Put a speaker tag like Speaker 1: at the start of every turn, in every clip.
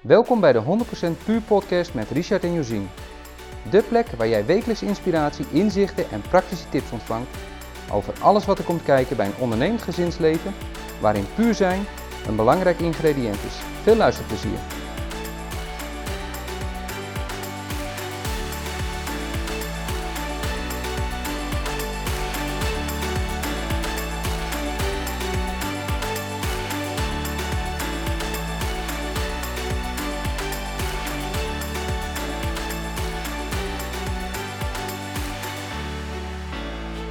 Speaker 1: Welkom bij de 100% Puur Podcast met Richard en Josien. De plek waar jij wekelijks inspiratie, inzichten en praktische tips ontvangt over alles wat er komt kijken bij een ondernemend gezinsleven, waarin puur zijn een belangrijk ingrediënt is. Veel luisterplezier!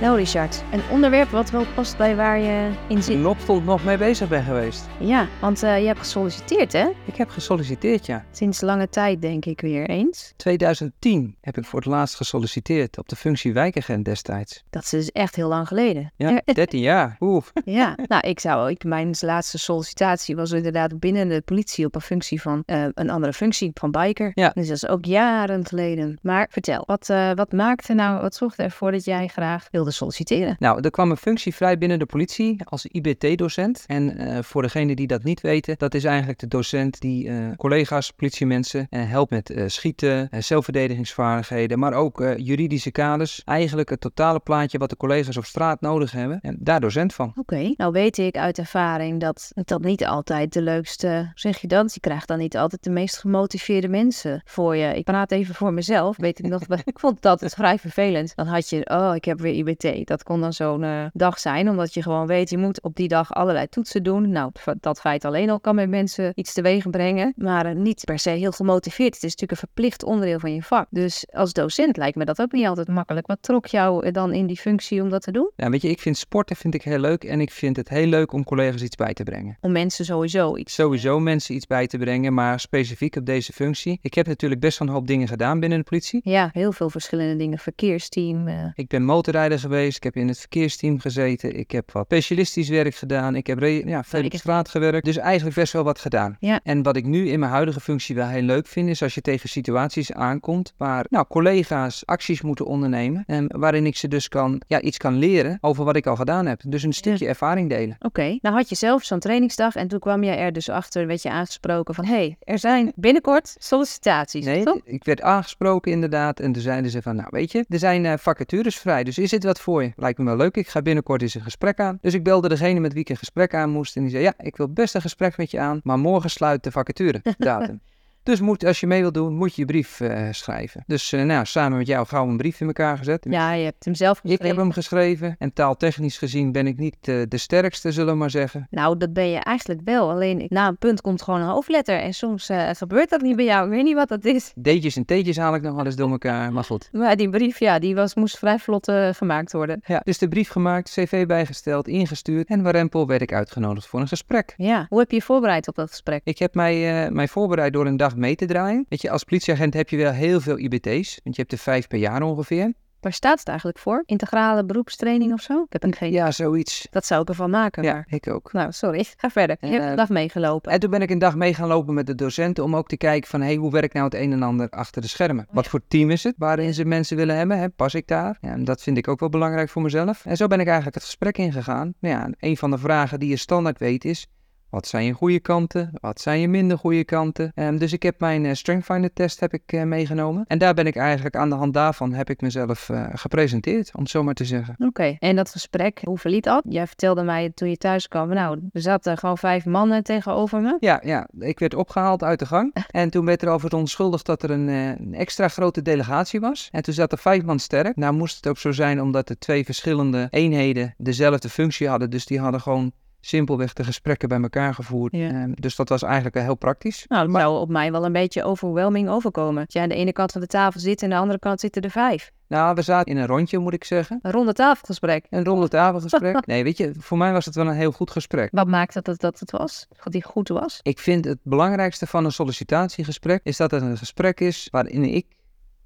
Speaker 2: Nou Richard, een onderwerp wat wel past bij waar je in zit.
Speaker 1: Vanochtend nog mee bezig ben geweest.
Speaker 2: Ja, want eh, je hebt gesolliciteerd hè?
Speaker 1: Ik heb gesolliciteerd, ja.
Speaker 2: Sinds lange tijd denk ik weer eens.
Speaker 1: 2010 heb ik voor het laatst gesolliciteerd op de functie wijkagent destijds.
Speaker 2: Dat is dus echt heel lang geleden.
Speaker 1: Ja, 13 jaar. Oeh.
Speaker 2: Ja, nou ik zou, ik, mijn laatste sollicitatie was inderdaad binnen de politie op een functie van, eh, een andere functie van biker.
Speaker 1: Ja.
Speaker 2: Dus dat is ook jaren geleden. Maar vertel, wat, eh, wat maakte nou, wat zorgde ervoor dat jij graag wilde solliciteren?
Speaker 1: Nou, er kwam een functie vrij binnen de politie als IBT-docent. En eh, voor degenen die dat niet weten, dat is eigenlijk de docent die eh, collega's, politiemensen eh, helpt met eh, schieten, eh, zelfverdedigingsvaardigheden, maar ook eh, juridische kaders. Eigenlijk het totale plaatje wat de collega's op straat nodig hebben. En daar docent van.
Speaker 2: Oké, nou weet ik uit ervaring dat dat niet altijd de leukste, hoe zeg je dat? Je krijgt dan niet altijd de meest gemotiveerde mensen voor je. Ik praat even voor mezelf, weet ik nog, ik vond dat het vrij vervelend. Dan had je, oh, ik heb weer IBT. Dat kon dan zo'n eh, dag zijn, omdat je gewoon weet, je moet op die dag allerlei toetsen doen. Nou, dat feit alleen al kan met mensen iets teweeg brengen, maar eh, niet per se heel gemotiveerd. Het is natuurlijk een verplicht onderdeel van je vak. Dus als docent lijkt me dat ook niet altijd makkelijk. Wat trok jou eh, dan in die functie om dat te doen?
Speaker 1: Nou, weet je, ik vind sporten vind ik heel leuk en ik vind het heel leuk om collega's iets bij te brengen.
Speaker 2: Om mensen sowieso iets
Speaker 1: sowieso mensen iets bij te brengen, maar specifiek op deze functie. Ik heb natuurlijk best wel een hoop dingen gedaan binnen de politie.
Speaker 2: Ja, heel veel verschillende dingen. Verkeersteam. eh,
Speaker 1: Ik ben motorrijder geweest, ik heb in het verkeersteam gezeten, ik heb wat specialistisch werk gedaan, ik heb re- ja, veel op
Speaker 2: ik-
Speaker 1: straat gewerkt. Dus eigenlijk best wel wat gedaan.
Speaker 2: Ja.
Speaker 1: En wat ik nu in mijn huidige functie wel heel leuk vind, is als je tegen situaties aankomt waar nou, collega's acties moeten ondernemen. En waarin ik ze dus kan, ja, iets kan leren over wat ik al gedaan heb. Dus een stukje ervaring delen.
Speaker 2: Oké, nou had je zelf zo'n trainingsdag en toen kwam jij er dus achter, werd je aangesproken van... hé, hey, er zijn binnenkort sollicitaties,
Speaker 1: Nee,
Speaker 2: toch?
Speaker 1: ik werd aangesproken inderdaad. En toen zeiden ze van, nou weet je, er zijn eh, vacatures vrij. Dus is dit wat voor je? Lijkt me wel leuk. Ik ga binnenkort eens een gesprek aan. Dus ik belde degene met wie ik een gesprek aan moest. En die zei, ja, ik wil best een gesprek met je aan. Maar morgen sluit de vacature datum. Dus moet, als je mee wilt doen, moet je je brief eh, schrijven. Dus eh, nou, samen met jou gauw een brief in elkaar gezet.
Speaker 2: Ja, je hebt hem zelf
Speaker 1: Ik heb
Speaker 2: geschreven.
Speaker 1: hem geschreven. En taaltechnisch gezien ben ik niet eh, de sterkste, zullen we maar zeggen.
Speaker 2: Nou, dat ben je eigenlijk wel. Alleen na een punt komt gewoon een hoofdletter. En soms eh, gebeurt dat niet bij jou. Ik weet niet wat dat is.
Speaker 1: D'tjes en T'tjes haal ik nog wel eens door elkaar. Maar goed.
Speaker 2: Maar die brief, ja, die was, moest vrij vlot eh, gemaakt worden.
Speaker 1: Ja, dus de brief gemaakt, cv bijgesteld, ingestuurd en warempel werd ik uitgenodigd voor een gesprek.
Speaker 2: Ja, hoe heb je je voorbereid op dat gesprek?
Speaker 1: Ik heb mij, eh, mij voorbereid door een dag mee te draaien. Weet je, als politieagent heb je wel heel veel IBT's, want je hebt er vijf per jaar ongeveer.
Speaker 2: Waar staat het eigenlijk voor? Integrale beroepstraining of zo? Ik heb een geen...
Speaker 1: Ja, zoiets.
Speaker 2: Dat zou ik ervan maken,
Speaker 1: Ja,
Speaker 2: maar...
Speaker 1: ik ook.
Speaker 2: Nou, sorry. Ga verder. Je
Speaker 1: En,
Speaker 2: hebt
Speaker 1: eh,
Speaker 2: de dag meegelopen.
Speaker 1: En toen ben ik een dag mee gaan lopen met de docenten om ook te kijken van, hey, hoe werkt nou het een en ander achter de schermen? Wat voor team is het waarin ze mensen willen hebben? Hè? Pas ik daar? Ja, en dat vind ik ook wel belangrijk voor mezelf. En zo ben ik eigenlijk het gesprek ingegaan. Nou ja, en een van de vragen die je standaard weet is, wat zijn je goede kanten? Wat zijn je minder goede kanten? Ehm, dus ik heb mijn eh, Strengthfinder test heb ik, eh, meegenomen. En daar ben ik eigenlijk aan de hand daarvan heb ik mezelf eh, gepresenteerd, om het zo maar te zeggen.
Speaker 2: Oké, en dat gesprek, hoe verliep dat? Jij vertelde mij toen je thuis kwam, nou, er zaten gewoon vijf mannen tegenover me.
Speaker 1: Ja, ja, ik werd opgehaald uit de gang. En toen werd erover onschuldigd dat er een, eh, een extra grote delegatie was. En toen zat er vijf man sterk. Nou moest het ook zo zijn omdat de twee verschillende eenheden dezelfde functie hadden. Dus die hadden gewoon simpelweg de gesprekken bij elkaar gevoerd.
Speaker 2: Ja.
Speaker 1: Ehm, dus dat was eigenlijk wel heel praktisch.
Speaker 2: Nou, dat zou op mij wel een beetje overwhelming overkomen. Dat jij aan de ene kant van de tafel zit en aan de andere kant zitten er vijf.
Speaker 1: Nou, we zaten in een rondje moet ik zeggen.
Speaker 2: Een ronde tafelgesprek.
Speaker 1: Een ronde tafelgesprek. Nee, weet je, voor mij was het wel een heel goed gesprek.
Speaker 2: Wat maakt dat het, dat het was? Dat die goed was?
Speaker 1: Ik vind het belangrijkste van een sollicitatiegesprek is dat het een gesprek is waarin ik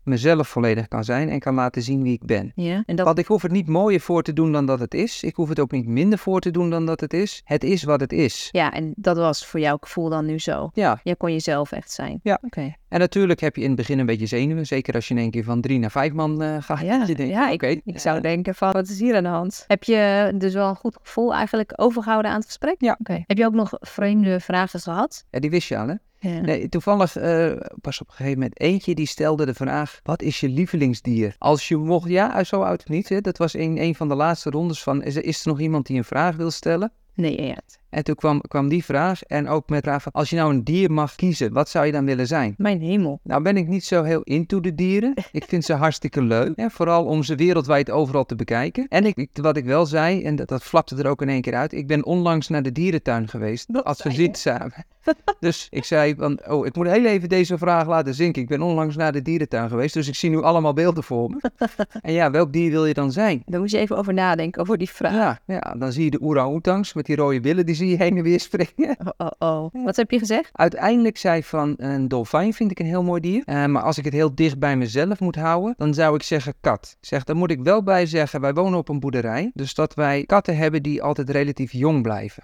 Speaker 1: mezelf volledig kan zijn en kan laten zien wie ik ben.
Speaker 2: Ja, en dat...
Speaker 1: Want ik hoef het niet mooier voor te doen dan dat het is. Ik hoef het ook niet minder voor te doen dan dat het is. Het is wat het is.
Speaker 2: ja, en dat was voor jouw gevoel dan nu zo.
Speaker 1: Ja,
Speaker 2: Jij kon jezelf echt zijn.
Speaker 1: Ja.
Speaker 2: Oké.
Speaker 1: en natuurlijk heb je in het begin een beetje zenuwen. Zeker als je in één keer van drie naar vijf man eh, gaat.
Speaker 2: Ah, Ja,
Speaker 1: je denkt,
Speaker 2: ja,
Speaker 1: oké.
Speaker 2: Ik
Speaker 1: eh,
Speaker 2: zou denken van, wat is hier aan de hand? Heb je dus wel een goed gevoel eigenlijk overgehouden aan het gesprek?
Speaker 1: Ja.
Speaker 2: Oké. Heb je ook nog vreemde vragen gehad?
Speaker 1: Ja, die wist je al, hè?
Speaker 2: Ja.
Speaker 1: Nee, toevallig eh, was op een gegeven moment eentje die stelde de vraag: wat is je lievelingsdier? Als je mocht, ja, zo oud niet. Hè? Dat was in een van de laatste rondes van: is er, is er nog iemand die een vraag wil stellen?
Speaker 2: Nee, echt.
Speaker 1: En toen kwam, kwam die vraag en ook met de vraag van, als je nou een dier mag kiezen, wat zou je dan willen zijn?
Speaker 2: Mijn hemel.
Speaker 1: Nou ben ik niet zo heel into de dieren. Ik vind ze hartstikke leuk. Hè? Vooral om ze wereldwijd overal te bekijken. En ik, ik- wat ik wel zei, en dat, dat flapte er ook in één keer uit. Ik ben onlangs naar de dierentuin geweest.
Speaker 2: Dat
Speaker 1: als
Speaker 2: zei
Speaker 1: gezin samen. Dus ik zei van, oh ik moet heel even deze vraag laten zinken. Ik ben onlangs naar de dierentuin geweest. Dus ik zie nu allemaal beelden voor me. En ja, welk dier wil je dan zijn?
Speaker 2: Daar moet je even over nadenken, over die vraag.
Speaker 1: Ja, ja, dan zie je de orang-oetangs met die rode billen. Die zie je heen en weer springen.
Speaker 2: Oh, oh, oh. Wat heb je gezegd?
Speaker 1: Uiteindelijk zei ik van een dolfijn vind ik een heel mooi dier. Eh, maar als ik het heel dicht bij mezelf moet houden, dan zou ik zeggen kat. Ik Zeg, daar moet ik wel bij zeggen, wij wonen op een boerderij. Dus dat wij katten hebben die altijd relatief jong blijven.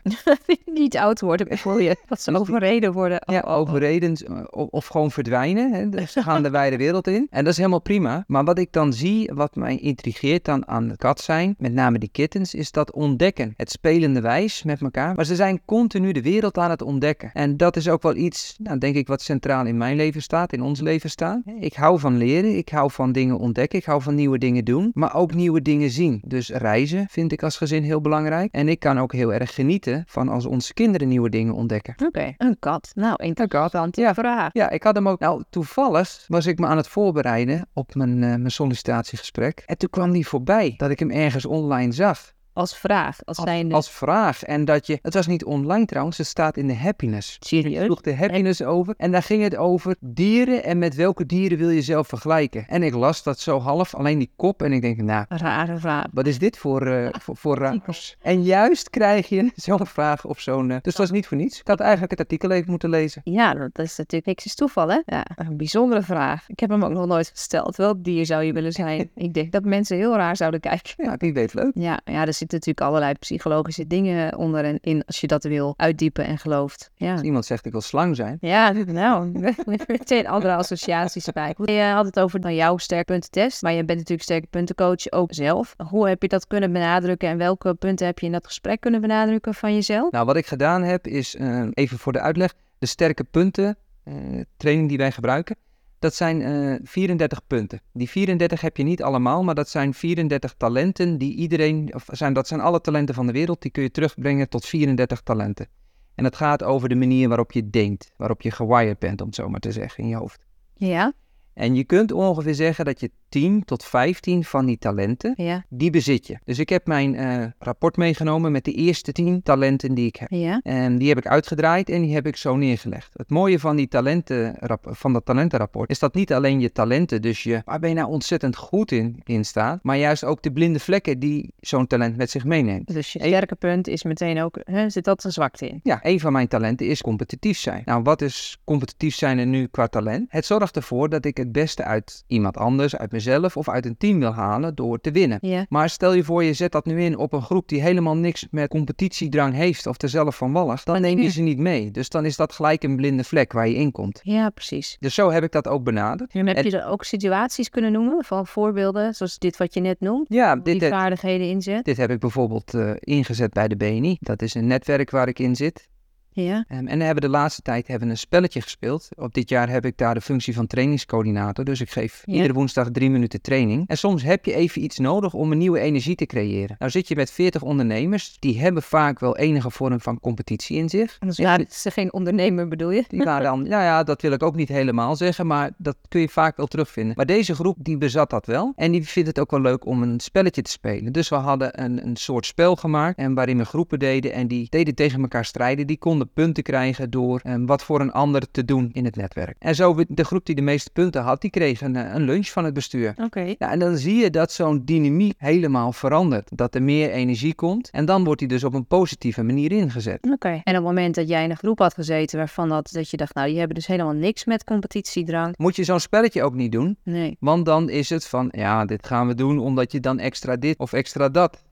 Speaker 2: Niet oud worden, voor je. Dat ze overreden worden. Oh,
Speaker 1: ja,
Speaker 2: oh, oh.
Speaker 1: overredend eh, of, of gewoon verdwijnen. Hè. Dus Ze gaan de wijde wereld in. En dat is helemaal prima. Maar wat ik dan zie, wat mij intrigeert dan aan de kat zijn, met name die kittens, is dat ontdekken. Het spelende wijs met elkaar. Maar ze zijn continu de wereld aan het ontdekken. En dat is ook wel iets, nou, denk ik, wat centraal in mijn leven staat, in ons leven staat. Ik hou van leren, ik hou van dingen ontdekken, ik hou van nieuwe dingen doen, maar ook nieuwe dingen zien. Dus reizen vind ik als gezin heel belangrijk. En ik kan ook heel erg genieten van als onze kinderen nieuwe dingen ontdekken.
Speaker 2: Oh, Oké, een kat. Nou, interessante
Speaker 1: ja.
Speaker 2: vraag.
Speaker 1: Ja, ik had hem ook. Nou, toevallig was ik me aan het voorbereiden op mijn, eh, mijn sollicitatiegesprek. En toen kwam die voorbij dat ik hem ergens online zag.
Speaker 2: Als vraag, als
Speaker 1: Als,
Speaker 2: zijnde...
Speaker 1: als vraag. En dat je. Het was niet online trouwens, het staat in de happiness. Ik
Speaker 2: Serieus?
Speaker 1: sloeg de happiness over. En daar ging het over dieren en met welke dieren wil je zelf vergelijken. En ik las dat zo half, alleen die kop. En ik denk, nou,
Speaker 2: Rare vraag.
Speaker 1: wat is dit voor, eh voor, voor raars? En juist krijg je zo'n vraag of zo'n. eh, dus dat was niet voor niets. Ik had eigenlijk het artikel even moeten lezen.
Speaker 2: Ja, dat is natuurlijk niks is toeval, hè? Ja, een bijzondere vraag. Ik heb hem ook nog nooit gesteld. Welk dier zou je willen zijn? Ik denk dat mensen heel raar zouden kijken.
Speaker 1: Ja, wie weet leuk.
Speaker 2: Ja, ja, er zitten natuurlijk allerlei psychologische dingen onder en in als je dat wil uitdiepen en gelooft. Ja,
Speaker 1: Als iemand zegt ik wil slang zijn.
Speaker 2: ja nou, er zijn meteen andere associaties bij. Je had het over nou, jouw sterkpuntentest, maar je bent natuurlijk sterkpuntencoach ook zelf. Hoe heb je dat kunnen benadrukken en welke punten heb je in dat gesprek kunnen benadrukken van jezelf?
Speaker 1: Nou, wat ik gedaan heb is, eh, even voor de uitleg, de sterke punten, eh, training die wij gebruiken, dat zijn eh, 34 punten. Die 34 heb je niet allemaal, maar dat zijn 34 talenten die iedereen, of zijn, dat zijn alle talenten van de wereld, die kun je terugbrengen tot 34 talenten. En het gaat over de manier waarop je denkt, waarop je gewired bent, om het zo maar te zeggen, in je hoofd.
Speaker 2: Ja,
Speaker 1: En je kunt ongeveer zeggen dat je 10 tot 15 van die talenten,
Speaker 2: ja,
Speaker 1: die bezit je. Dus ik heb mijn eh, rapport meegenomen met de eerste 10 talenten die ik heb.
Speaker 2: ja.
Speaker 1: En die heb ik uitgedraaid en die heb ik zo neergelegd. Het mooie van, die talentenrap- van dat talentenrapport is dat niet alleen je talenten, dus je, waar ben je nou ontzettend goed in, in staat, maar juist ook de blinde vlekken die zo'n talent met zich meeneemt.
Speaker 2: Dus je sterke punt is meteen ook, hè, zit dat een zwakte in?
Speaker 1: Ja, een van mijn talenten is competitief zijn. Nou, wat is competitief zijn er nu qua talent? Het zorgt ervoor dat ik het beste uit iemand anders, uit mezelf of uit een team wil halen door te winnen.
Speaker 2: Ja,
Speaker 1: Maar stel je voor, je zet dat nu in op een groep die helemaal niks met competitiedrang heeft of er zelf van wallig. Dan neem je ze niet mee. Dus dan is dat gelijk een blinde vlek waar je in komt.
Speaker 2: ja precies.
Speaker 1: Dus zo heb ik dat ook benaderd.
Speaker 2: En heb
Speaker 1: En-
Speaker 2: je er ook situaties kunnen noemen van voorbeelden, zoals dit wat je net noemt,
Speaker 1: Ja,
Speaker 2: Oh, die
Speaker 1: dit, heb-
Speaker 2: vaardigheden inzet?
Speaker 1: dit heb ik bijvoorbeeld eh, ingezet bij de BNI. Dat is een netwerk waar ik in zit.
Speaker 2: Ja,
Speaker 1: Ehm, en we hebben de laatste tijd hebben we een spelletje gespeeld. Op dit jaar heb ik daar de functie van trainingscoördinator. Dus ik geef
Speaker 2: Ja.
Speaker 1: iedere woensdag drie minuten training. En soms heb je even iets nodig om een nieuwe energie te creëren. Nou zit je met 40 ondernemers. Die hebben vaak wel enige vorm van competitie in zich.
Speaker 2: dus ja, dit is geen ondernemer bedoel je?
Speaker 1: Die waren dan, nou ja, dat wil ik ook niet helemaal zeggen, maar dat kun je vaak wel terugvinden. Maar deze groep, die bezat dat wel. En die vindt het ook wel leuk om een spelletje te spelen. Dus we hadden een, een soort spel gemaakt en waarin we groepen deden. En die deden tegen elkaar strijden. Die konden punten krijgen door ehm, wat voor een ander te doen in het netwerk. En zo, werd de groep die de meeste punten had, die kreeg een, eh, een lunch van het bestuur.
Speaker 2: Oké.
Speaker 1: Ja, en dan zie je dat zo'n dynamiek helemaal verandert. Dat er meer energie komt. En dan wordt die dus op een positieve manier ingezet.
Speaker 2: Oké. En op het moment dat jij in een groep had gezeten waarvan dat, dat je dacht, nou, die hebben dus helemaal niks met competitiedrang.
Speaker 1: Moet je zo'n spelletje ook niet doen,
Speaker 2: Nee.
Speaker 1: Want dan is het van, ja, dit gaan we doen omdat je dan extra dit of extra dat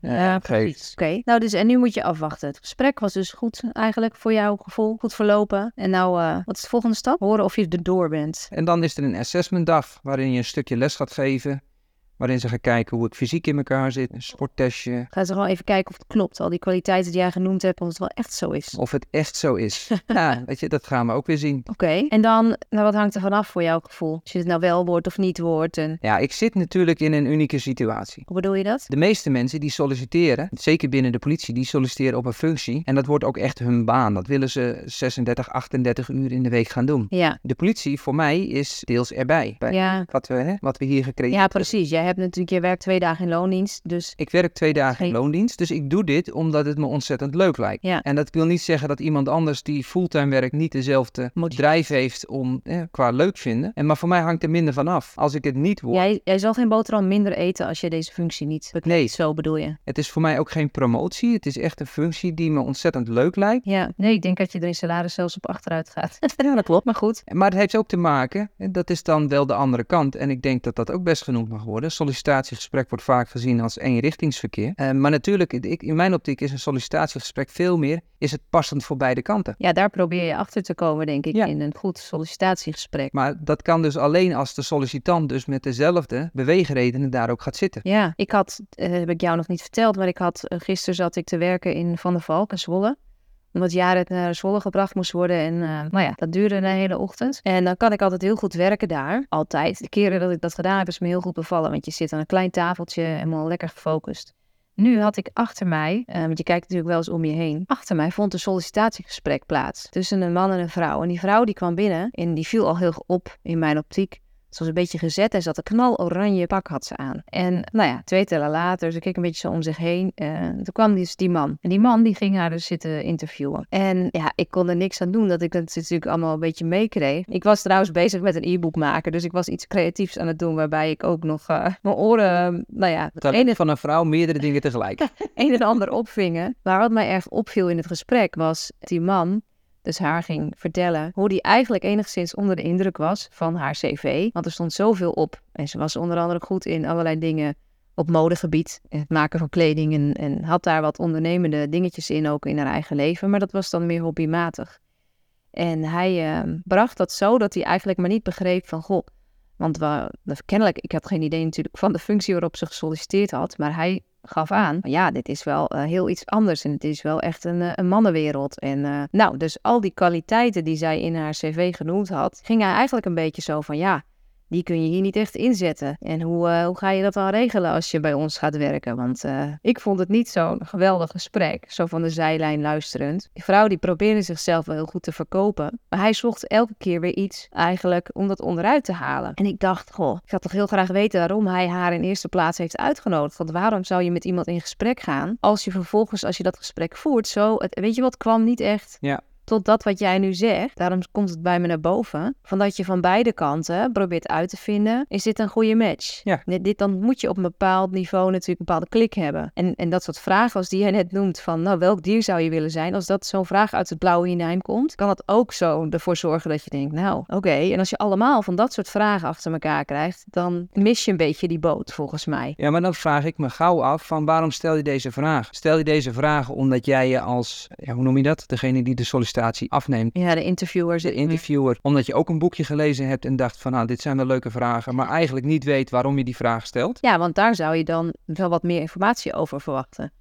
Speaker 1: eh, geeft.
Speaker 2: Oké. Nou, dus en nu moet je afwachten. Het gesprek was dus goed eigenlijk voor jouw gevoel, goed verlopen. En nou, eh, wat is de volgende stap? Horen of je erdoor bent.
Speaker 1: En dan is er een assessmentdag waarin je een stukje les gaat geven. Waarin ze gaan kijken hoe ik fysiek in elkaar zit. Een sporttestje.
Speaker 2: Gaan ze gewoon even kijken of het klopt. Al die kwaliteiten die jij genoemd hebt, of het wel echt zo is.
Speaker 1: Of het echt zo is. ja, weet je, dat gaan we ook weer zien.
Speaker 2: Oké. En dan, nou, wat hangt er vanaf voor jouw gevoel? Als je het nou wel wordt of niet wordt. En
Speaker 1: Ja, ik zit natuurlijk in een unieke situatie.
Speaker 2: hoe bedoel je dat?
Speaker 1: De meeste mensen die solliciteren, zeker binnen de politie, die solliciteren op een functie. En dat wordt ook echt hun baan. Dat willen ze 36, 38 uur in de week gaan doen.
Speaker 2: Ja.
Speaker 1: De politie voor mij is deels erbij. Bij
Speaker 2: Ja.
Speaker 1: wat, we, hè, wat we hier gecreëerd
Speaker 2: ja, precies. Jij hebt natuurlijk, je werkt twee dagen in loondienst. Dus
Speaker 1: Ik werk twee dagen in
Speaker 2: Geen-
Speaker 1: loondienst, dus ik doe dit omdat het me ontzettend leuk lijkt.
Speaker 2: Ja.
Speaker 1: En dat wil niet zeggen dat iemand anders die fulltime werkt niet dezelfde
Speaker 2: Motivatie.
Speaker 1: drijf heeft om eh, qua leuk vinden. En, maar voor mij hangt er minder van af. Als ik het niet word,
Speaker 2: jij, jij zal geen boterham minder eten als je deze functie niet bekleedt.
Speaker 1: Nee.
Speaker 2: Zo bedoel je.
Speaker 1: het is voor mij ook geen promotie. Het is echt een functie die me ontzettend leuk lijkt.
Speaker 2: Ja. Nee, ik denk dat je er in salaris zelfs op achteruit gaat. ja, dat klopt. Maar goed.
Speaker 1: Maar het heeft ook te maken, en dat is dan wel de andere kant. En ik denk dat dat ook best genoemd mag worden. Sollicitatiegesprek wordt vaak gezien als eenrichtingsverkeer. Eh, maar natuurlijk, ik, in mijn optiek is een sollicitatiegesprek veel meer, is het passend voor beide kanten.
Speaker 2: Ja, daar probeer je achter te komen, denk ik,
Speaker 1: Ja.
Speaker 2: in een goed sollicitatiegesprek.
Speaker 1: Maar dat kan dus alleen als de sollicitant dus met dezelfde beweegredenen daar ook gaat zitten.
Speaker 2: Ja, ik had, eh, heb ik jou nog niet verteld, maar ik had, eh, gisteren zat ik te werken in Van der Valk in Zwolle. Omdat Jared naar Zwolle gebracht moest worden en eh, nou ja, dat duurde een hele ochtend. En dan kan ik altijd heel goed werken daar, altijd. De keren dat ik dat gedaan heb is me heel goed bevallen, want je zit aan een klein tafeltje, helemaal lekker gefocust. Nu had ik achter mij, eh, want je kijkt natuurlijk wel eens om je heen, achter mij vond een sollicitatiegesprek plaats tussen een man en een vrouw. En die vrouw die kwam binnen en die viel al heel erg op in mijn optiek. Ze was een beetje gezet en ze had een knaloranje pak had ze aan. En nou ja, twee tellen later, ze keek een beetje zo om zich heen. eh, toen kwam dus die man. En die man die ging haar dus zitten interviewen. En ja, ik kon er niks aan doen dat ik dat natuurlijk allemaal een beetje meekreeg. Ik was trouwens bezig met een e-book maken. Dus ik was iets creatiefs aan het doen waarbij ik ook nog eh, mijn oren, eh, nou ja, het
Speaker 1: Het
Speaker 2: enige
Speaker 1: enige van een vrouw meerdere dingen tegelijk.
Speaker 2: een en ander opvingen. Maar wat mij erg opviel in het gesprek was die man, dus haar ging vertellen hoe die eigenlijk enigszins onder de indruk was van haar cv. Want er stond zoveel op. En ze was onder andere goed in allerlei dingen op modegebied. en Het maken van kleding en, en had daar wat ondernemende dingetjes in ook in haar eigen leven. Maar dat was dan meer hobbymatig. En hij eh, bracht dat zo dat hij eigenlijk maar niet begreep van, goh, want we, kennelijk, ik had geen idee natuurlijk van de functie waarop ze gesolliciteerd had, maar hij gaf aan, ja, dit is wel eh, heel iets anders en het is wel echt een, eh, een mannenwereld. En eh, nou, dus al die kwaliteiten die zij in haar cv genoemd had, ging hij eigenlijk een beetje zo van, ja, die kun je hier niet echt inzetten. En hoe, eh, hoe ga je dat dan regelen als je bij ons gaat werken? Want eh, ik vond het niet zo'n geweldig gesprek, zo van de zijlijn luisterend. Die vrouw die probeerde zichzelf wel heel goed te verkopen. Maar hij zocht elke keer weer iets eigenlijk om dat onderuit te halen. En ik dacht, goh, ik had toch heel graag weten waarom hij haar in eerste plaats heeft uitgenodigd. Want waarom zou je met iemand in gesprek gaan als je vervolgens, als je dat gesprek voert, zo... Het, weet je wat, kwam niet echt
Speaker 1: Ja.
Speaker 2: tot dat wat jij nu zegt. Daarom komt het bij me naar boven. Van dat je van beide kanten probeert uit te vinden, is dit een goede match?
Speaker 1: Ja.
Speaker 2: Dit, dit- dan moet je op een bepaald niveau natuurlijk een bepaalde klik hebben. En, en dat soort vragen als die jij net noemt, van nou, welk dier zou je willen zijn? Als dat zo'n vraag uit het blauwe hinein komt, kan dat ook zo ervoor zorgen dat je denkt, nou, oké. En als je allemaal van dat soort vragen achter elkaar krijgt, dan mis je een beetje die boot, volgens mij.
Speaker 1: Ja, maar dan vraag ik me gauw af van waarom stel je deze vraag? Stel je deze vraag omdat jij je als, ja, hoe noem je dat? Degene die de sollicitatie afneemt.
Speaker 2: Ja, de interviewer
Speaker 1: De
Speaker 2: zit
Speaker 1: interviewer, omdat je ook een boekje gelezen hebt en dacht van, nou, dit zijn wel leuke vragen, maar eigenlijk niet weet waarom je die vraag stelt.
Speaker 2: Ja, want daar zou je dan wel wat meer informatie over verwachten.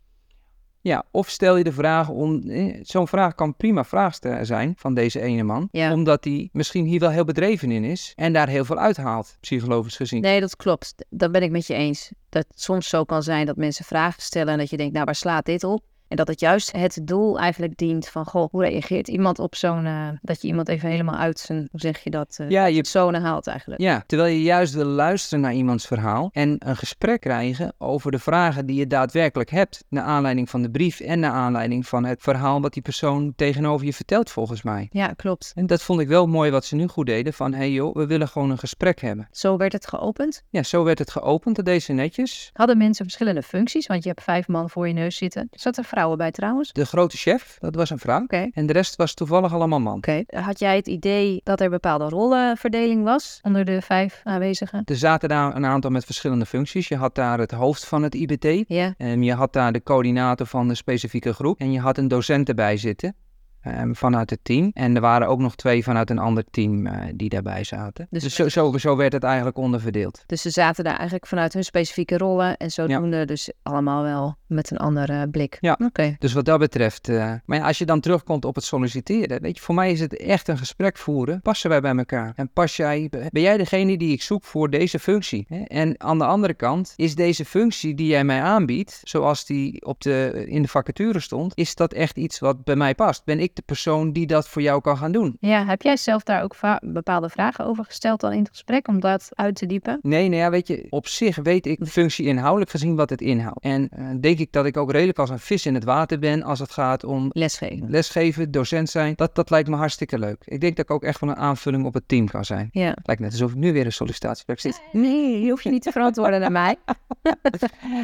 Speaker 1: Ja, of stel je de vraag om. eh, Zo'n vraag kan prima vraag ste- zijn van deze ene man.
Speaker 2: Ja.
Speaker 1: Omdat hij misschien hier wel heel bedreven in is en daar heel veel uithaalt, psychologisch gezien.
Speaker 2: Nee, dat klopt. Dat ben ik met je eens. Dat het soms zo kan zijn dat mensen vragen stellen en dat je denkt, nou waar slaat dit op? En dat het juist het doel eigenlijk dient van, goh, hoe reageert iemand op zo'n, eh, dat je iemand even helemaal uit zijn, hoe zeg je dat, eh
Speaker 1: Ja, je,
Speaker 2: persona haalt eigenlijk.
Speaker 1: ja, terwijl je juist wil luisteren naar iemands verhaal en een gesprek krijgen over de vragen die je daadwerkelijk hebt. Naar aanleiding van de brief en naar aanleiding van het verhaal wat die persoon tegenover je vertelt, volgens mij.
Speaker 2: Ja, klopt.
Speaker 1: En dat vond ik wel mooi wat ze nu goed deden: van hé hey joh, we willen gewoon een gesprek hebben.
Speaker 2: Zo werd het geopend.
Speaker 1: Ja, zo werd het geopend, dat deed ze netjes.
Speaker 2: Hadden mensen verschillende functies, want je hebt vijf man voor je neus zitten. Zaten er vrouwen bij trouwens?
Speaker 1: De grote chef, dat was een vrouw.
Speaker 2: Oké.
Speaker 1: En de rest was toevallig allemaal man.
Speaker 2: Oké. Had jij het idee dat er bepaalde rollenverdeling was onder de vijf aanwezigen?
Speaker 1: Er zaten daar een aantal met verschillende functies. Je had daar het hoofd van het IBT.
Speaker 2: Ja.
Speaker 1: ehm, En je had daar de coördinator van de specifieke groep. En je had een docent erbij zitten. ehm, vanuit het team. En er waren ook nog twee vanuit een ander team eh, die daarbij zaten.
Speaker 2: Dus
Speaker 1: Dus, zo, zo, zo werd het eigenlijk onderverdeeld.
Speaker 2: Dus ze zaten daar eigenlijk vanuit hun specifieke rollen. En zodoende dus allemaal wel met een andere blik.
Speaker 1: Ja.
Speaker 2: Oké.
Speaker 1: Dus wat dat betreft. eh, maar ja, als je dan terugkomt op het solliciteren. Weet je, voor mij is het echt een gesprek voeren. Passen wij bij elkaar? En pas jij, ben jij degene die ik zoek voor deze functie? Hè? En aan de andere kant, is deze functie die jij mij aanbiedt, zoals die op de, in de vacature stond, is dat echt iets wat bij mij past? Ben ik de persoon die dat voor jou kan gaan doen?
Speaker 2: Ja, heb jij zelf daar ook va- bepaalde vragen over gesteld dan in het gesprek om dat uit te diepen?
Speaker 1: Nee, nou ja, weet je, op zich weet ik de functie inhoudelijk gezien wat het inhoudt. En eh, denk ik dat ik ook redelijk als een vis in het water ben als het gaat om
Speaker 2: Lesgeven.
Speaker 1: lesgeven, docent zijn. Dat, dat lijkt me hartstikke leuk. Ik denk dat ik ook echt wel een aanvulling op het team kan zijn.
Speaker 2: Ja.
Speaker 1: Lijkt net alsof ik nu weer een sollicitatiegesprek zit.
Speaker 2: Nee, je hoeft je niet te verantwoorden naar mij.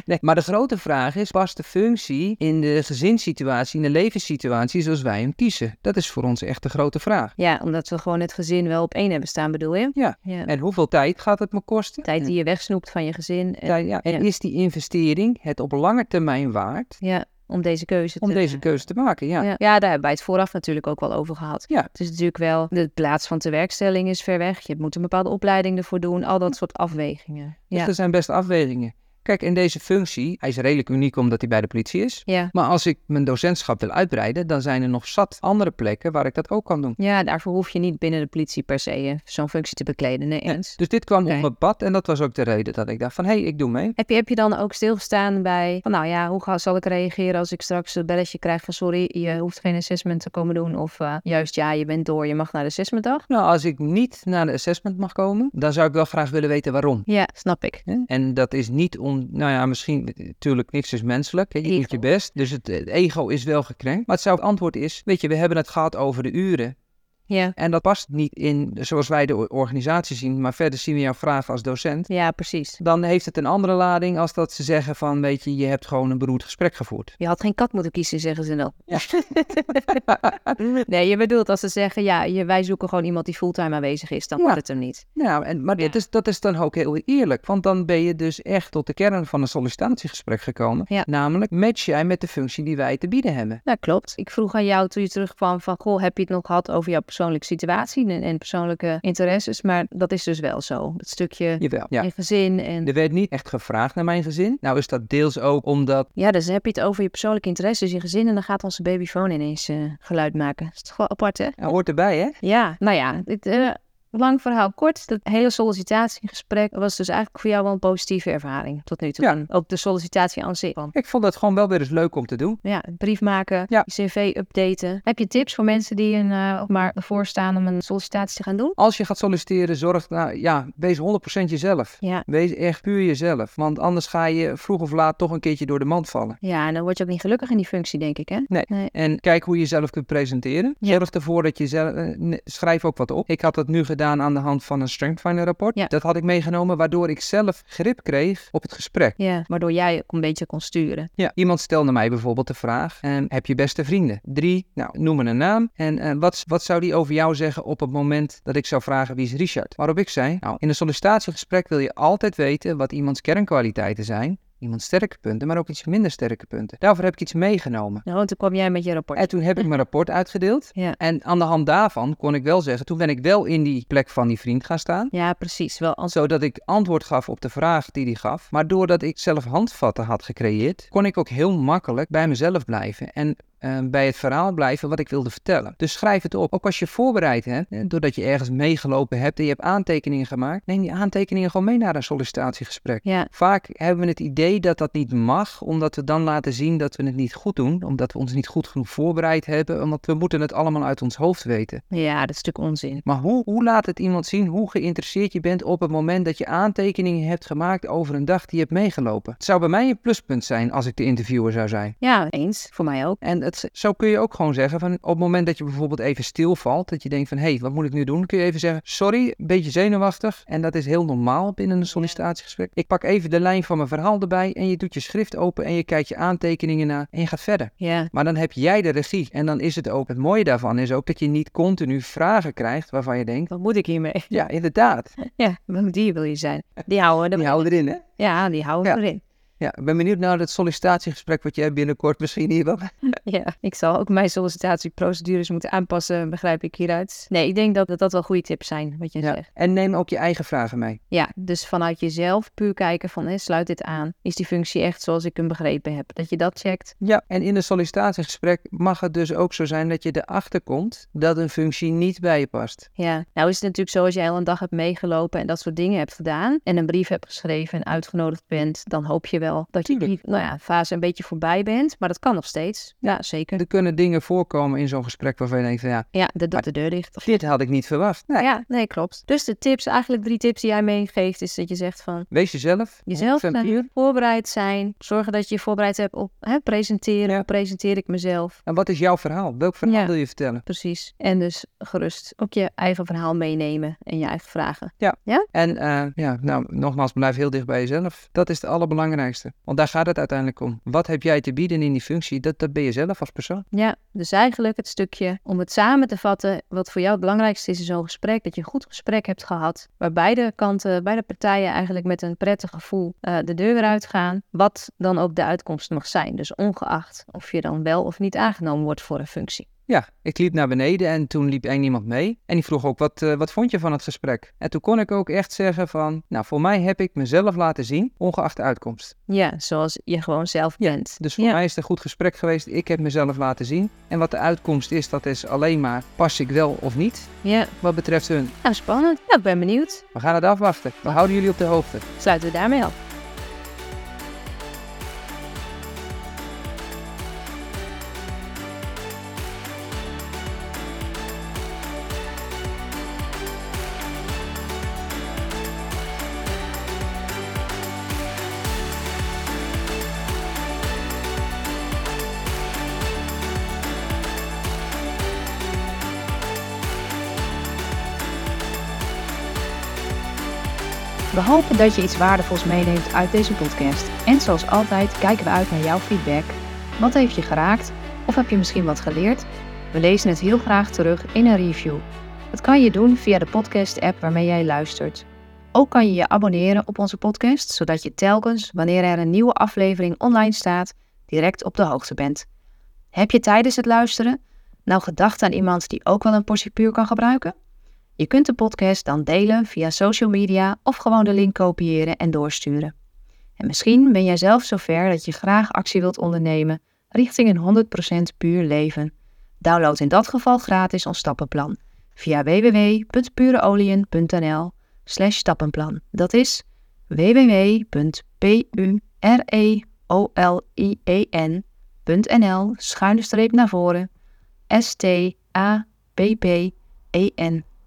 Speaker 1: Nee, maar de grote vraag is, past de functie in de gezinssituatie, in de levenssituatie zoals wij hem kiezen? Dat is voor ons echt de grote vraag.
Speaker 2: Ja, omdat we gewoon het gezin wel op één hebben staan, bedoel je?
Speaker 1: Ja.
Speaker 2: ja.
Speaker 1: En hoeveel tijd gaat het me kosten?
Speaker 2: Tijd die je wegsnoept van je gezin. En,
Speaker 1: Tijd, ja. En
Speaker 2: Ja.
Speaker 1: is die investering het op lange termijn waard
Speaker 2: ja, om deze keuze
Speaker 1: om
Speaker 2: te
Speaker 1: deze keuze te maken? Ja.
Speaker 2: eh, Ja. ja, daar hebben wij het vooraf natuurlijk ook wel over gehad.
Speaker 1: Ja.
Speaker 2: Het is natuurlijk wel, de plaats van tewerkstelling is ver weg. Je moet een bepaalde opleiding ervoor doen. Al dat soort afwegingen.
Speaker 1: Dus
Speaker 2: Ja.
Speaker 1: er zijn best afwegingen. Kijk, en deze functie, hij is redelijk uniek omdat hij bij de politie is.
Speaker 2: Ja.
Speaker 1: Maar als ik mijn docentschap wil uitbreiden, dan zijn er nog zat andere plekken waar ik dat ook kan doen.
Speaker 2: ja, daarvoor hoef je niet binnen de politie per se eh, zo'n functie te bekleden. Nee, eens.
Speaker 1: Dus dit kwam
Speaker 2: Oké.
Speaker 1: op mijn pad en dat was ook de reden dat ik dacht van, hé, hey, ik doe mee.
Speaker 2: Heb je, heb je dan ook stilgestaan bij, van, nou ja, hoe ga, zal ik reageren als ik straks een belletje krijg van sorry, je hoeft geen assessment te komen doen. Of eh, juist, ja, je bent door, je mag naar de assessmentdag.
Speaker 1: Nou, als ik niet naar de assessment mag komen, dan zou ik wel graag willen weten waarom.
Speaker 2: Ja, snap ik.
Speaker 1: hè. En dat is niet om, nou ja, misschien, natuurlijk, niks is menselijk. hè. Je doet je
Speaker 2: Ego.
Speaker 1: best, dus het, het ego is wel gekrenkt. Maar het zou het antwoord is, weet je, we hebben het gehad over de uren.
Speaker 2: Ja,
Speaker 1: En dat past niet in zoals wij de o- organisatie zien, maar verder zien we jouw vraag als docent.
Speaker 2: ja precies.
Speaker 1: Dan heeft het een andere lading als dat ze zeggen van, weet je, je hebt gewoon een beroerd gesprek gevoerd.
Speaker 2: Je had geen kat moeten kiezen, zeggen ze dan.
Speaker 1: Ja.
Speaker 2: nee, je bedoelt als ze zeggen, ja, je, wij zoeken gewoon iemand die fulltime aanwezig is, dan
Speaker 1: Ja.
Speaker 2: wordt het hem niet.
Speaker 1: Nou, en, maar dit is, dat is dan ook heel eerlijk, want dan ben je dus echt tot de kern van een sollicitatiegesprek gekomen.
Speaker 2: Ja.
Speaker 1: Namelijk, match jij met de functie die wij te bieden hebben?
Speaker 2: Nou, klopt. Ik vroeg aan jou toen je terugkwam van, goh, heb je het nog gehad over jouw persoonlijke situatie en, en persoonlijke interesses? Maar dat is dus wel zo. Het stukje
Speaker 1: Jawel, ja.
Speaker 2: je gezin en
Speaker 1: Er werd niet echt gevraagd naar mijn gezin. Nou is dat deels ook omdat,
Speaker 2: Ja, dus dan heb je het over je persoonlijke interesses, je gezin. En dan gaat onze babyfoon ineens eh, geluid maken. Dat is toch wel apart, hè?
Speaker 1: nou, hoort erbij hè?
Speaker 2: Ja, nou ja. Dit, eh, lang verhaal kort. Dat hele sollicitatiegesprek was dus eigenlijk voor jou wel een positieve ervaring tot nu toe.
Speaker 1: Ja.
Speaker 2: Ook de sollicitatie aan zich. Want,
Speaker 1: Ik vond dat gewoon wel weer eens leuk om te doen.
Speaker 2: Ja, een brief maken,
Speaker 1: Ja.
Speaker 2: je cv updaten. Heb je tips voor mensen die een, eh, maar ervoor staan om een sollicitatie te gaan doen?
Speaker 1: Als je gaat solliciteren, zorg, nou ja, wees 100% jezelf.
Speaker 2: Ja.
Speaker 1: Wees echt puur jezelf, want anders ga je vroeg of laat toch een keertje door de mand vallen.
Speaker 2: Ja, en dan word je ook niet gelukkig in die functie, denk ik, hè?
Speaker 1: Nee.
Speaker 2: Nee.
Speaker 1: En kijk hoe je jezelf kunt presenteren. Zorg ervoor dat je zelf... eh, ne- Schrijf ook wat op. Ik had dat nu gedaan aan de hand van een Strengthfinder rapport.
Speaker 2: Ja.
Speaker 1: Dat had ik meegenomen, waardoor ik zelf grip kreeg op het gesprek.
Speaker 2: Ja, waardoor jij ook een beetje kon sturen.
Speaker 1: Ja. Iemand stelde mij bijvoorbeeld de vraag, en heb je beste vrienden? Drie, nou, noem me een naam. En eh, wat, wat zou die over jou zeggen op het moment dat ik zou vragen wie is Richard? Waarop ik zei, nou, in een sollicitatiegesprek wil je altijd weten wat iemands kernkwaliteiten zijn. Iemands sterke punten, maar ook iets minder sterke punten. Daarvoor heb ik iets meegenomen.
Speaker 2: Nou, en toen kwam jij met je rapport.
Speaker 1: En toen heb ik mijn rapport uitgedeeld.
Speaker 2: Ja.
Speaker 1: En aan de hand daarvan kon ik wel zeggen, toen ben ik wel in die plek van die vriend gaan staan.
Speaker 2: Ja, precies. Wel als...
Speaker 1: Zodat ik antwoord gaf op de vraag die hij gaf. Maar doordat ik zelf handvatten had gecreëerd, kon ik ook heel makkelijk bij mezelf blijven. En eh, bij het verhaal blijven wat ik wilde vertellen. Dus schrijf het op. Ook als je voorbereid hebt, hè, doordat je ergens meegelopen hebt en je hebt aantekeningen gemaakt, neem die aantekeningen gewoon mee naar een sollicitatiegesprek.
Speaker 2: Ja,
Speaker 1: Vaak hebben we het idee dat dat niet mag, omdat we dan laten zien dat we het niet goed doen, omdat we ons niet goed genoeg voorbereid hebben, omdat we moeten het allemaal uit ons hoofd weten.
Speaker 2: Ja, dat is natuurlijk onzin.
Speaker 1: Maar hoe, hoe laat het iemand zien hoe geïnteresseerd je bent op het moment dat je aantekeningen hebt gemaakt over een dag die je hebt meegelopen? Het zou bij mij een pluspunt zijn als ik de interviewer zou zijn.
Speaker 2: Ja, eens. Voor mij ook.
Speaker 1: En het, zo kun je ook gewoon zeggen van op het moment dat je bijvoorbeeld even stilvalt, dat je denkt van hé, hey, wat moet ik nu doen? Kun je even zeggen, sorry, een beetje zenuwachtig. En dat is heel normaal binnen een sollicitatiegesprek. Ik pak even de lijn van mijn verhaal erbij en je doet je schrift open en je kijkt je aantekeningen na en je gaat verder.
Speaker 2: Ja,
Speaker 1: Maar dan heb jij de regie. En dan is het ook, het mooie daarvan is ook dat je niet continu vragen krijgt waarvan je denkt,
Speaker 2: wat moet ik hiermee?
Speaker 1: ja inderdaad,
Speaker 2: Ja, welk dier wil je zijn? Die houden we er-
Speaker 1: die houden erin hè.
Speaker 2: Ja, die houden we
Speaker 1: Ja.
Speaker 2: erin.
Speaker 1: Ja, ik ben benieuwd naar het sollicitatiegesprek wat jij binnenkort misschien hier wel.
Speaker 2: Ja, ik zal ook mijn sollicitatieprocedures moeten aanpassen, begrijp ik hieruit. Nee, ik denk dat dat, dat wel goede tips zijn, wat je
Speaker 1: Ja.
Speaker 2: zegt.
Speaker 1: En neem ook je eigen vragen mee.
Speaker 2: Ja, dus vanuit jezelf puur kijken van, hè, sluit dit aan? Is die functie echt zoals ik hem begrepen heb? Dat je dat checkt.
Speaker 1: Ja, en in een sollicitatiegesprek mag het dus ook zo zijn dat je erachter komt dat een functie niet bij je past.
Speaker 2: Ja, nou is het natuurlijk zo als jij al een dag hebt meegelopen en dat soort dingen hebt gedaan en een brief hebt geschreven en uitgenodigd bent, dan hoop je wel dat je
Speaker 1: Tuurlijk.
Speaker 2: die nou ja, fase een beetje voorbij bent, maar dat kan nog steeds. Ja, zeker.
Speaker 1: Er kunnen dingen voorkomen in zo'n gesprek waarvan je denkt, van, ja,
Speaker 2: Ja, dat doet de deur dicht.
Speaker 1: dit had ik niet verwacht. Nou,
Speaker 2: Ja, nee, klopt. Dus de tips, eigenlijk drie tips die jij meegeeft, is dat je zegt van
Speaker 1: Wees jezelf.
Speaker 2: jezelf eh.
Speaker 1: Van
Speaker 2: zijn,
Speaker 1: puur.
Speaker 2: voorbereid zijn, zorgen dat je je voorbereid hebt op hè, presenteren,
Speaker 1: Ja.
Speaker 2: presenteer ik mezelf.
Speaker 1: En wat is jouw verhaal? Welk verhaal
Speaker 2: Ja.
Speaker 1: wil je vertellen?
Speaker 2: Precies. En dus gerust ook je eigen verhaal meenemen en je eigen vragen.
Speaker 1: En eh, ja, nou, nogmaals, blijf heel dicht bij jezelf. Dat is het allerbelangrijkste. Want daar gaat het uiteindelijk om. Wat heb jij te bieden in die functie? Dat, dat ben je zelf als persoon.
Speaker 2: Ja, dus eigenlijk het stukje om het samen te vatten, wat voor jou het belangrijkste is in zo'n gesprek, dat je een goed gesprek hebt gehad, waar beide kanten, beide partijen eigenlijk met een prettig gevoel eh, de deur weer uitgaan, wat dan ook de uitkomst mag zijn. Dus ongeacht of je dan wel of niet aangenomen wordt voor een functie.
Speaker 1: Ja, ik liep naar beneden en toen liep één iemand mee. En die vroeg ook, wat, eh, wat vond je van het gesprek? En toen kon ik ook echt zeggen van, nou, voor mij heb ik mezelf laten zien, ongeacht de uitkomst.
Speaker 2: Ja, zoals je gewoon zelf
Speaker 1: Ja,
Speaker 2: bent.
Speaker 1: Dus voor
Speaker 2: ja.
Speaker 1: mij is het een goed gesprek geweest. Ik heb mezelf laten zien. En wat de uitkomst is, dat is alleen maar, pas ik wel of niet,
Speaker 2: Ja,
Speaker 1: wat betreft hun.
Speaker 2: nou spannend. Ja, ik ben benieuwd.
Speaker 1: We gaan het afwachten. We houden jullie op de hoogte.
Speaker 2: Sluiten we daarmee af. We hopen dat je iets waardevols meeneemt uit deze podcast. En zoals altijd kijken we uit naar jouw feedback. Wat heeft je geraakt? Of heb je misschien wat geleerd? We lezen het heel graag terug in een review. Dat kan je doen via de podcast-app waarmee jij luistert. Ook kan je je abonneren op onze podcast, zodat je telkens, wanneer er een nieuwe aflevering online staat, direct op de hoogte bent. Heb je tijdens het luisteren nou gedacht aan iemand die ook wel een portie puur kan gebruiken? Je kunt de podcast dan delen via social media of gewoon de link kopiëren en doorsturen. En misschien ben jij zelf zover dat je graag actie wilt ondernemen richting een 100% puur leven. Download in dat geval gratis ons stappenplan via www.pureolien.nl slash stappenplan. Dat is www.pureolien.nl schuine streep naar voren E S-T-A-P-P-E-N.